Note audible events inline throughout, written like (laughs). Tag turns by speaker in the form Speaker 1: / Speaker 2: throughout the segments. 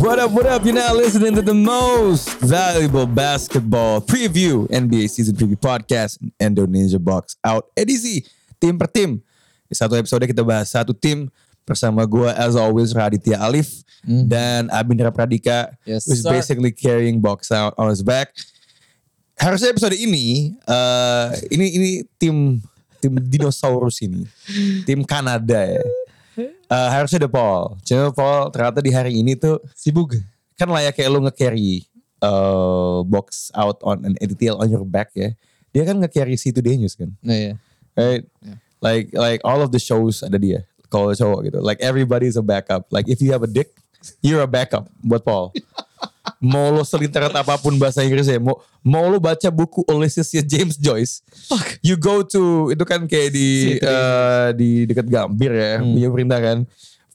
Speaker 1: What up, what up? You're now listening to the most valuable basketball preview NBA season preview podcast Endo Ninja Box Out edisi tim per tim. Di satu episode kita bahas satu tim bersama gua as always Raditya Alif dan Abindra Pradika
Speaker 2: Hmm. Yes,
Speaker 1: who's
Speaker 2: sir.
Speaker 1: basically carrying box out on his back. Harusnya episode ini eh ini ini tim tim dinosaurus ini. Tim Kanada ya. Eh, harusnya The Paul. Cuma Paul ternyata di hari ini tuh
Speaker 2: Sibuk.
Speaker 1: kan layak kayak lu nge-carry eh, box out on an ATL on your back ya. Dia kan nge-carry si Today News kan.
Speaker 2: Nah ya.
Speaker 1: Right?
Speaker 2: Yeah.
Speaker 1: Like like all of the shows ada dia. Kalau cowok gitu. Like everybody's a backup. Like if you have a dick, you're a backup buat
Speaker 2: (laughs)
Speaker 1: Paul. mau lo selinteran apapun bahasa Inggris ya. Mau, mau lo baca buku Olyssesnya James Joyce. You go to itu kan kayak di
Speaker 2: Situ.
Speaker 1: eh, di dekat Gambir ya.
Speaker 2: Hmm.
Speaker 1: Punya perintah kan.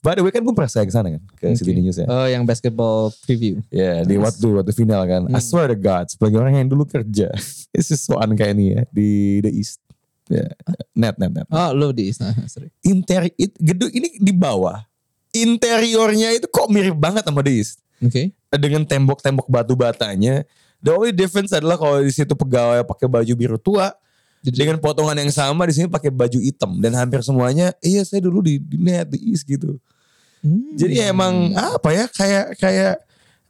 Speaker 1: By the way kan gue pernah saya ke sana kan. Ke City News ya.
Speaker 2: Oh yang basketball preview.
Speaker 1: Ya di waktu waktu final kan.
Speaker 2: Hmm.
Speaker 1: I swear to God, sebagai orang yang dulu kerja, (laughs) it's just so kayak ini ya di the East. Ya, net net net.
Speaker 2: Oh lo di sana. (laughs) Sorry.
Speaker 1: Interi it, gedung ini di bawah. Interiornya itu kok mirip banget sama the East.
Speaker 2: Oke.
Speaker 1: Dengan tembok-tembok batu batanya. The only difference adalah kalau di situ pegawai pakai baju biru tua
Speaker 2: Jadi-
Speaker 1: dengan potongan yang sama di sini pakai baju hitam dan hampir semuanya iya saya dulu di, di net the East gitu.
Speaker 2: Hmm.
Speaker 1: Jadi ya emang apa ya kayak kayak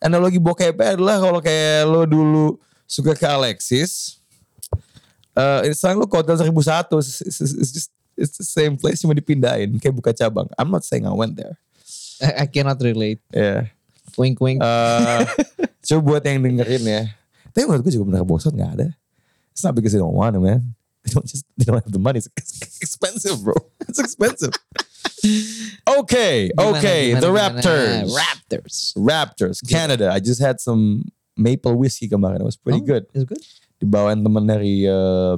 Speaker 1: analogi bokepnya adalah kalau kayak lo dulu suka ke Alexis, eh sekarang lo ke hotel 1001, it's, it's, it's just it's the same place cuma dipindahin kayak buka cabang. I'm not saying I went there.
Speaker 2: I, I cannot relate.
Speaker 1: Ya.
Speaker 2: Wink wink.
Speaker 1: Eh, coba buat yang dengerin ya. Tapi menurut gue juga bener bosan nggak ada. It's not because they don't want it, man. They don't just they don't have the money. It's expensive, bro. It's expensive. Okay,
Speaker 2: Gimana,
Speaker 1: okay,
Speaker 2: gimana,
Speaker 1: the
Speaker 2: gimana?
Speaker 1: Raptors.
Speaker 2: Raptors.
Speaker 1: Raptors, Canada. I just had some maple whiskey kemarin. It was pretty
Speaker 2: Oh,
Speaker 1: good.
Speaker 2: It's good.
Speaker 1: Dibawain temen dari eh,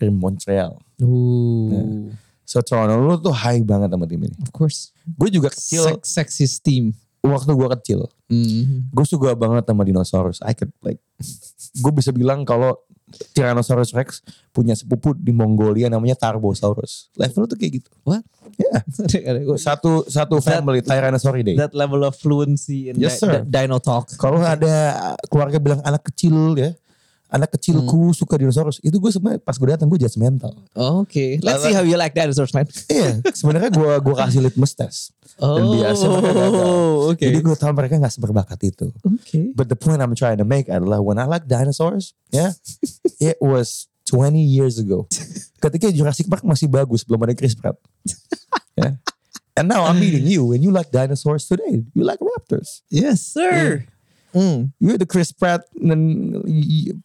Speaker 1: dari Montreal.
Speaker 2: Ooh.
Speaker 1: So Toronto lu tuh high banget sama tim ini.
Speaker 2: Of course.
Speaker 1: Gue juga kecil.
Speaker 2: Sex, sexist team.
Speaker 1: Waktu gue kecil,
Speaker 2: Hmm.
Speaker 1: gue suka banget sama dinosaurus. I could like, (laughs) gue bisa bilang kalau Tyrannosaurus Rex punya sepupu di Mongolia namanya Tarbosaurus. Level tuh kayak gitu.
Speaker 2: (laughs) What?
Speaker 1: Yeah.
Speaker 2: Sorry, ada gua-
Speaker 1: Satu satu
Speaker 2: That-
Speaker 1: family Tyrannosauridae.
Speaker 2: That level of fluency in
Speaker 1: Yes,
Speaker 2: di-
Speaker 1: sir.
Speaker 2: di- dino talk.
Speaker 1: Kalau ada keluarga bilang anak kecil ya, anak
Speaker 2: Hmm.
Speaker 1: kecilku suka dinosaurus, itu gue sebenarnya pas gue datang gue judgmental.
Speaker 2: Oke. Oh, Let's see how you like dinosaurs
Speaker 1: (laughs)
Speaker 2: man.
Speaker 1: Iya, sebenarnya gue gua kasih litmus test. Dan biasa mereka gagal.
Speaker 2: Oh, (laughs) oke.
Speaker 1: Jadi gue tahu mereka nggak seberbakat itu.
Speaker 2: Oke.
Speaker 1: But the point I'm trying to make adalah when I like dinosaurs, ya, it was 20 years ago. Ketika Jurassic Park masih bagus, belum ada Chris Pratt. Ya. And now I'm meeting you and you like dinosaurs today. You like raptors.
Speaker 2: Yes, sir. Hmm.
Speaker 1: You the Chris Pratt dan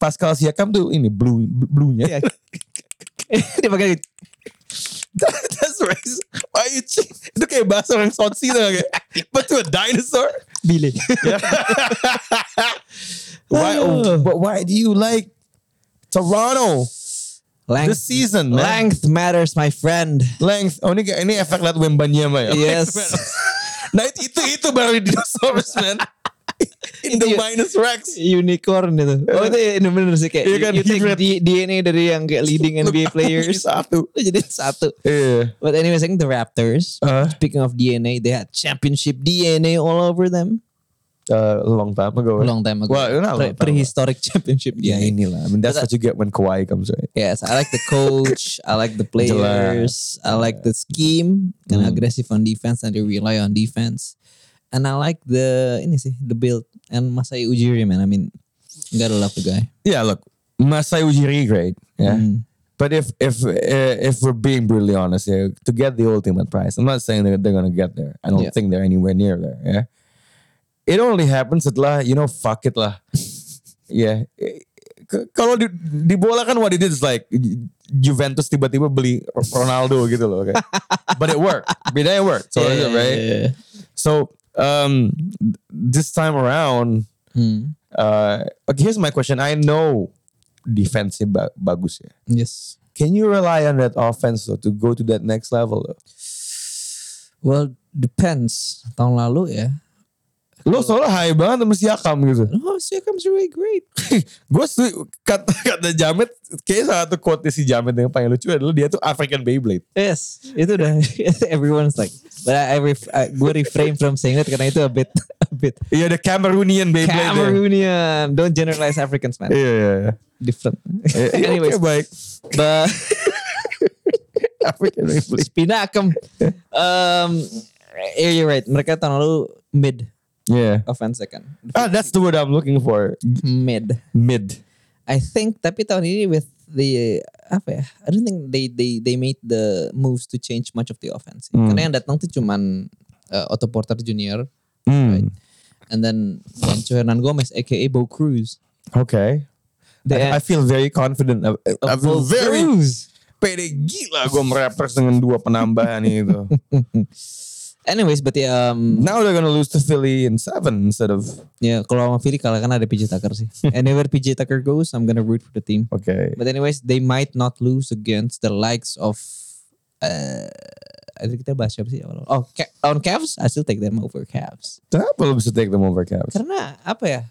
Speaker 1: Pascal Siakam tuh ini blue bluenya. (laughs)
Speaker 2: (laughs) Ya. Dipakai
Speaker 1: That- That's racist. Why you che- Itu kayak bahasa orang Sotsi tuh kayak. But to a dinosaur?
Speaker 2: Billy.
Speaker 1: Why,
Speaker 2: Oh.
Speaker 1: but why do you like Toronto
Speaker 2: Length,
Speaker 1: this season, man?
Speaker 2: length matters, my friend.
Speaker 1: (laughs) Length. Oh ini, ini efek liat Wembanyama ya?
Speaker 2: Yes.
Speaker 1: (laughs)
Speaker 2: (laughs)
Speaker 1: nah itu, itu, itu baru dinosaurus, (laughs) man. In the
Speaker 2: Itu ya.
Speaker 1: minus Rex.
Speaker 2: (laughs) Unicorn itu. Oh itu ya, bener sih kayak
Speaker 1: Iya kan,
Speaker 2: you take
Speaker 1: hybrid.
Speaker 2: D- DNA dari yang kayak
Speaker 1: (laughs)
Speaker 2: leading NBA players.
Speaker 1: Satu.
Speaker 2: Lu (laughs) jadi satu.
Speaker 1: Iya.
Speaker 2: But anyway, I think the Raptors.
Speaker 1: Uh,
Speaker 2: Speaking of DNA, they had championship DNA all over them.
Speaker 1: uh, long time ago.
Speaker 2: A long time ago.
Speaker 1: Well, not a long
Speaker 2: Pre-
Speaker 1: time ago.
Speaker 2: prehistoric (laughs) championship
Speaker 1: Ya
Speaker 2: DNA.
Speaker 1: inilah. I mean, that's what you get when Kawhi comes, right?
Speaker 2: Yes, I like the
Speaker 1: (laughs)
Speaker 2: coach. I like the players. I like the scheme. Kind
Speaker 1: Mm.
Speaker 2: of aggressive on defense and they rely on defense. And I like the ini sih the build and Masai Ujiri man. I mean, gotta love the guy.
Speaker 1: Yeah, look, Masai Ujiri great. Yeah,
Speaker 2: Mm.
Speaker 1: but if if uh, if we're being brutally honest here, to get the ultimate prize, I'm not saying that they're gonna get there. I don't
Speaker 2: Yeah.
Speaker 1: think they're anywhere near there. Yeah, it only happens setelah you know fuck it lah. (laughs) yeah, Eh, K- kalau di, di bola kan what it is like Ju- Juventus tiba-tiba beli Ronaldo gitu loh,
Speaker 2: (laughs)
Speaker 1: okay? but it worked. Beda it worked. So
Speaker 2: Yeah,
Speaker 1: right.
Speaker 2: yeah, yeah.
Speaker 1: So um, this time around.
Speaker 2: Hmm.
Speaker 1: Uh, okay, here's my question. I know defensive ba bagus ya.
Speaker 2: Yes.
Speaker 1: Can you rely on that offense though, to go to that next level? Though?
Speaker 2: Well, depends. Tahun lalu ya.
Speaker 1: Lo soalnya high banget sama Siakam gitu. (laughs)
Speaker 2: Oh, Siakam's really great.
Speaker 1: Gue kata kata Jamet, kayaknya salah satu quote si Jamet yang paling lucu adalah dia tuh African Beyblade.
Speaker 2: Yes, (laughs) itu udah everyone's like. But I, I ref, I, gue refrain from saying that karena itu a bit (laughs) a bit.
Speaker 1: Iya the Cameroonian Beyblade. Cameroon.
Speaker 2: Cameroonian. Don't generalize Africans, man.
Speaker 1: Iya iya iya.
Speaker 2: Different.
Speaker 1: (laughs) Iya, iya,
Speaker 2: Eh, Anyways,
Speaker 1: Oke baik.
Speaker 2: but
Speaker 1: African Beyblade.
Speaker 2: Spinakem. Um, yeah, you're right. Mereka tahun lalu mid
Speaker 1: Yeah.
Speaker 2: offense kan.
Speaker 1: Ah that's the word I'm looking for.
Speaker 2: Mid.
Speaker 1: Mid.
Speaker 2: I think tapi tahun ini with the apa ya? I don't think they they they made the moves to change much of the offense.
Speaker 1: Hmm.
Speaker 2: Karena yang datang tuh cuman uh, Otto Porter Junior
Speaker 1: Hmm.
Speaker 2: and then Juancho Hernan Gomez aka Bo Cruz.
Speaker 1: Okay. I, I feel very confident. I, I- I feel very
Speaker 2: Cruz.
Speaker 1: pede gila gue merapers dengan dua penambahan (laughs) itu.
Speaker 2: Anyways, but yeah, um,
Speaker 1: Now they're gonna lose to Philly in seven instead of
Speaker 2: ya kalau sama Philly kalah kan ada PJ Tucker sih. Anywhere PJ Tucker goes, I'm gonna root for the team.
Speaker 1: okay.
Speaker 2: But anyways, they might not lose against the likes of uh, ada kita bahas siapa sih awal-awal? Oh, Ca- on Cavs, I still take them over Cavs.
Speaker 1: Kenapa lo bisa take them over Cavs?
Speaker 2: Karena apa ya?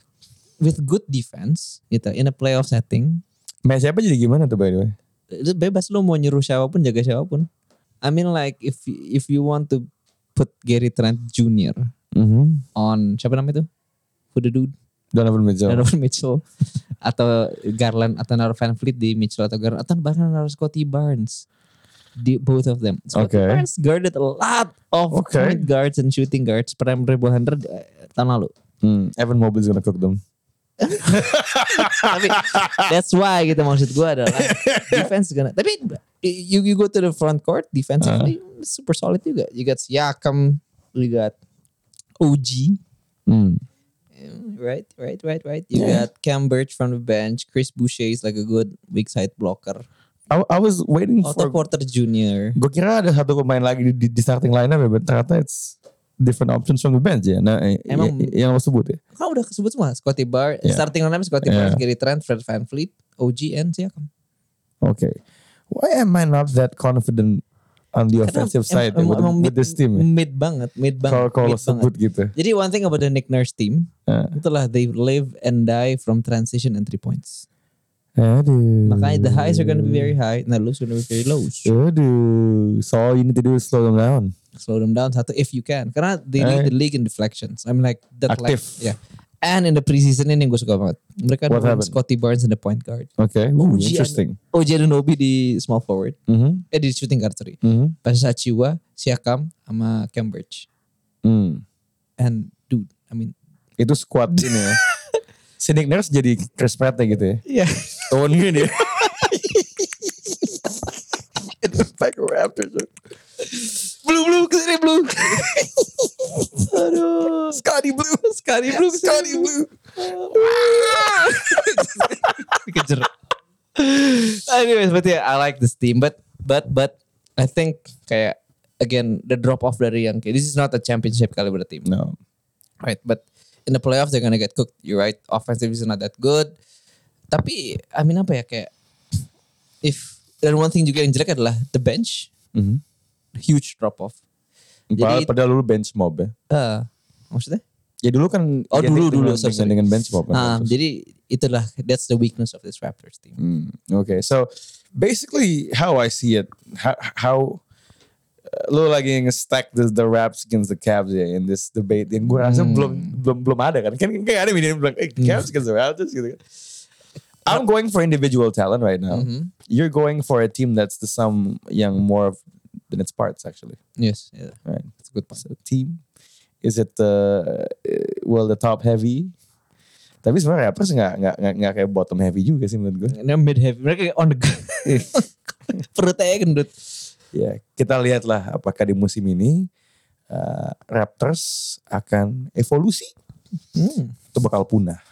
Speaker 2: With good defense gitu in a playoff setting,
Speaker 1: Match apa jadi gimana tuh by the way?
Speaker 2: itu bebas lu mau nyuruh siapapun jaga siapapun. I mean like if if you want to put Gary Trent Jr.
Speaker 1: Mhm.
Speaker 2: on siapa nama itu? Who the dude?
Speaker 1: Donovan Mitchell.
Speaker 2: Donovan Mitchell (laughs) atau Garland atau naruh Van Fleet di Mitchell atau Garland atau bahkan naruh Scotty Barnes di both of them. Scotty
Speaker 1: Okay.
Speaker 2: Barnes guarded a lot of
Speaker 1: Okay.
Speaker 2: point guards and shooting guards per Andre Bohandred tahun
Speaker 1: (laughs)
Speaker 2: lalu.
Speaker 1: Hmm, Evan Mobley's gonna cook them.
Speaker 2: tapi that's why gitu maksud gue
Speaker 1: (laughs)
Speaker 2: adalah defense gonna tapi you you go to the front court defensively
Speaker 1: Uh-huh.
Speaker 2: mm, super solid juga. You got Siakam, you got OG,
Speaker 1: Hmm.
Speaker 2: Right, right, right, right. You
Speaker 1: Yeah.
Speaker 2: got Cam Birch from the bench. Chris Boucher is like a good weak side blocker.
Speaker 1: I, I was waiting for.
Speaker 2: Otto Porter Jr.
Speaker 1: Gue kira ada satu pemain lagi di, di starting lineup ya, but ternyata it's different options from the bench ya. Nah, eh,
Speaker 2: Emang-
Speaker 1: y- y- yang lo sebut ya.
Speaker 2: Kan udah kesebut semua. Scotty Bar,
Speaker 1: Yeah.
Speaker 2: starting lineup Scotty
Speaker 1: Yeah.
Speaker 2: Barnes, Gary Trent, Fred Van Fleet, OG, and Siakam.
Speaker 1: Okay. Why am I not that confident on the offensive side with, with this team? ya?
Speaker 2: Mid banget, mid
Speaker 1: Kalau
Speaker 2: banget.
Speaker 1: kalau
Speaker 2: mid banget.
Speaker 1: sebut gitu.
Speaker 2: Jadi one thing about the Nick Nurse team,
Speaker 1: Ah.
Speaker 2: itulah they live and die from transition and three points.
Speaker 1: Aduh.
Speaker 2: Makanya the highs are gonna be very high, and the lows are gonna be very lows.
Speaker 1: Aduh. So all you need to do is slow them down.
Speaker 2: slow them down satu if you can karena
Speaker 1: Eh.
Speaker 2: they lead the league in deflections I'm like that like
Speaker 1: Aktif.
Speaker 2: yeah and in the preseason ini yang gue suka banget mereka
Speaker 1: What
Speaker 2: ada
Speaker 1: happened?
Speaker 2: Scotty Barnes in the point guard
Speaker 1: Okay. Ooh,
Speaker 2: Gian-
Speaker 1: interesting.
Speaker 2: oh Nobi di small forward
Speaker 1: Mm-hmm.
Speaker 2: eh di shooting guard sorry
Speaker 1: Mm-hmm.
Speaker 2: Pasha Chiwa Siakam sama Cambridge
Speaker 1: Mm.
Speaker 2: and dude I mean
Speaker 1: Itu squad ini (laughs) ya. Si Nick Nurse jadi Chris Pratt gitu ya.
Speaker 2: (laughs) yeah
Speaker 1: Tahun (laughs) gini ya. Itu back raptor.
Speaker 2: blue blue kesini blue aduh
Speaker 1: Scotty Blue.
Speaker 2: Scotty blue kesini,
Speaker 1: Scotty
Speaker 2: blue.
Speaker 1: Blue.
Speaker 2: dikejar. (laughs) Anyways, but yeah, I like this team, but but but I think kayak again the drop off dari yang kayak this is not a championship caliber team,
Speaker 1: No.
Speaker 2: right? But in the playoffs they're gonna get cooked. You're right. Offensive is not that good. Tapi I mean apa ya kayak if dan one thing juga yang jelek adalah the bench
Speaker 1: Mm-hmm.
Speaker 2: huge drop off.
Speaker 1: Padahal,
Speaker 2: Jadi
Speaker 1: padahal dulu bench mob ya.
Speaker 2: eh, maksudnya?
Speaker 1: Ya dulu kan.
Speaker 2: Oh,
Speaker 1: identik
Speaker 2: dulu, dulu,
Speaker 1: dengan- dengan-
Speaker 2: sorry, sorry.
Speaker 1: Dengan bench mob. kan.
Speaker 2: Ah, jadi itulah that's the weakness of this Raptors team.
Speaker 1: Mm, okay, so basically, how I see it, how how uh, lo lagi nge-stack the, the Raps against the Cavs ya in this debate yang gue rasa belum belum belum ada kan kan kayak ada media yang bilang eh, Cavs against the Raptors gitu kan. I'm going for individual talent right
Speaker 2: Oh.
Speaker 1: now.
Speaker 2: Mm-hmm.
Speaker 1: You're going for a team that's the sum yang more of than its parts actually.
Speaker 2: Yes, yeah,
Speaker 1: Right.
Speaker 2: that's a good point.
Speaker 1: So team is it the uh, well the top heavy? Tapi sebenarnya Raptors nggak nggak nggak- nggak kayak bottom heavy juga sih menurut gue.
Speaker 2: Ini mid heavy. Mereka kayak on the (laughs) perutnya gendut.
Speaker 1: Ya, kita lihatlah apakah di musim ini uh, Raptors akan evolusi atau bakal punah.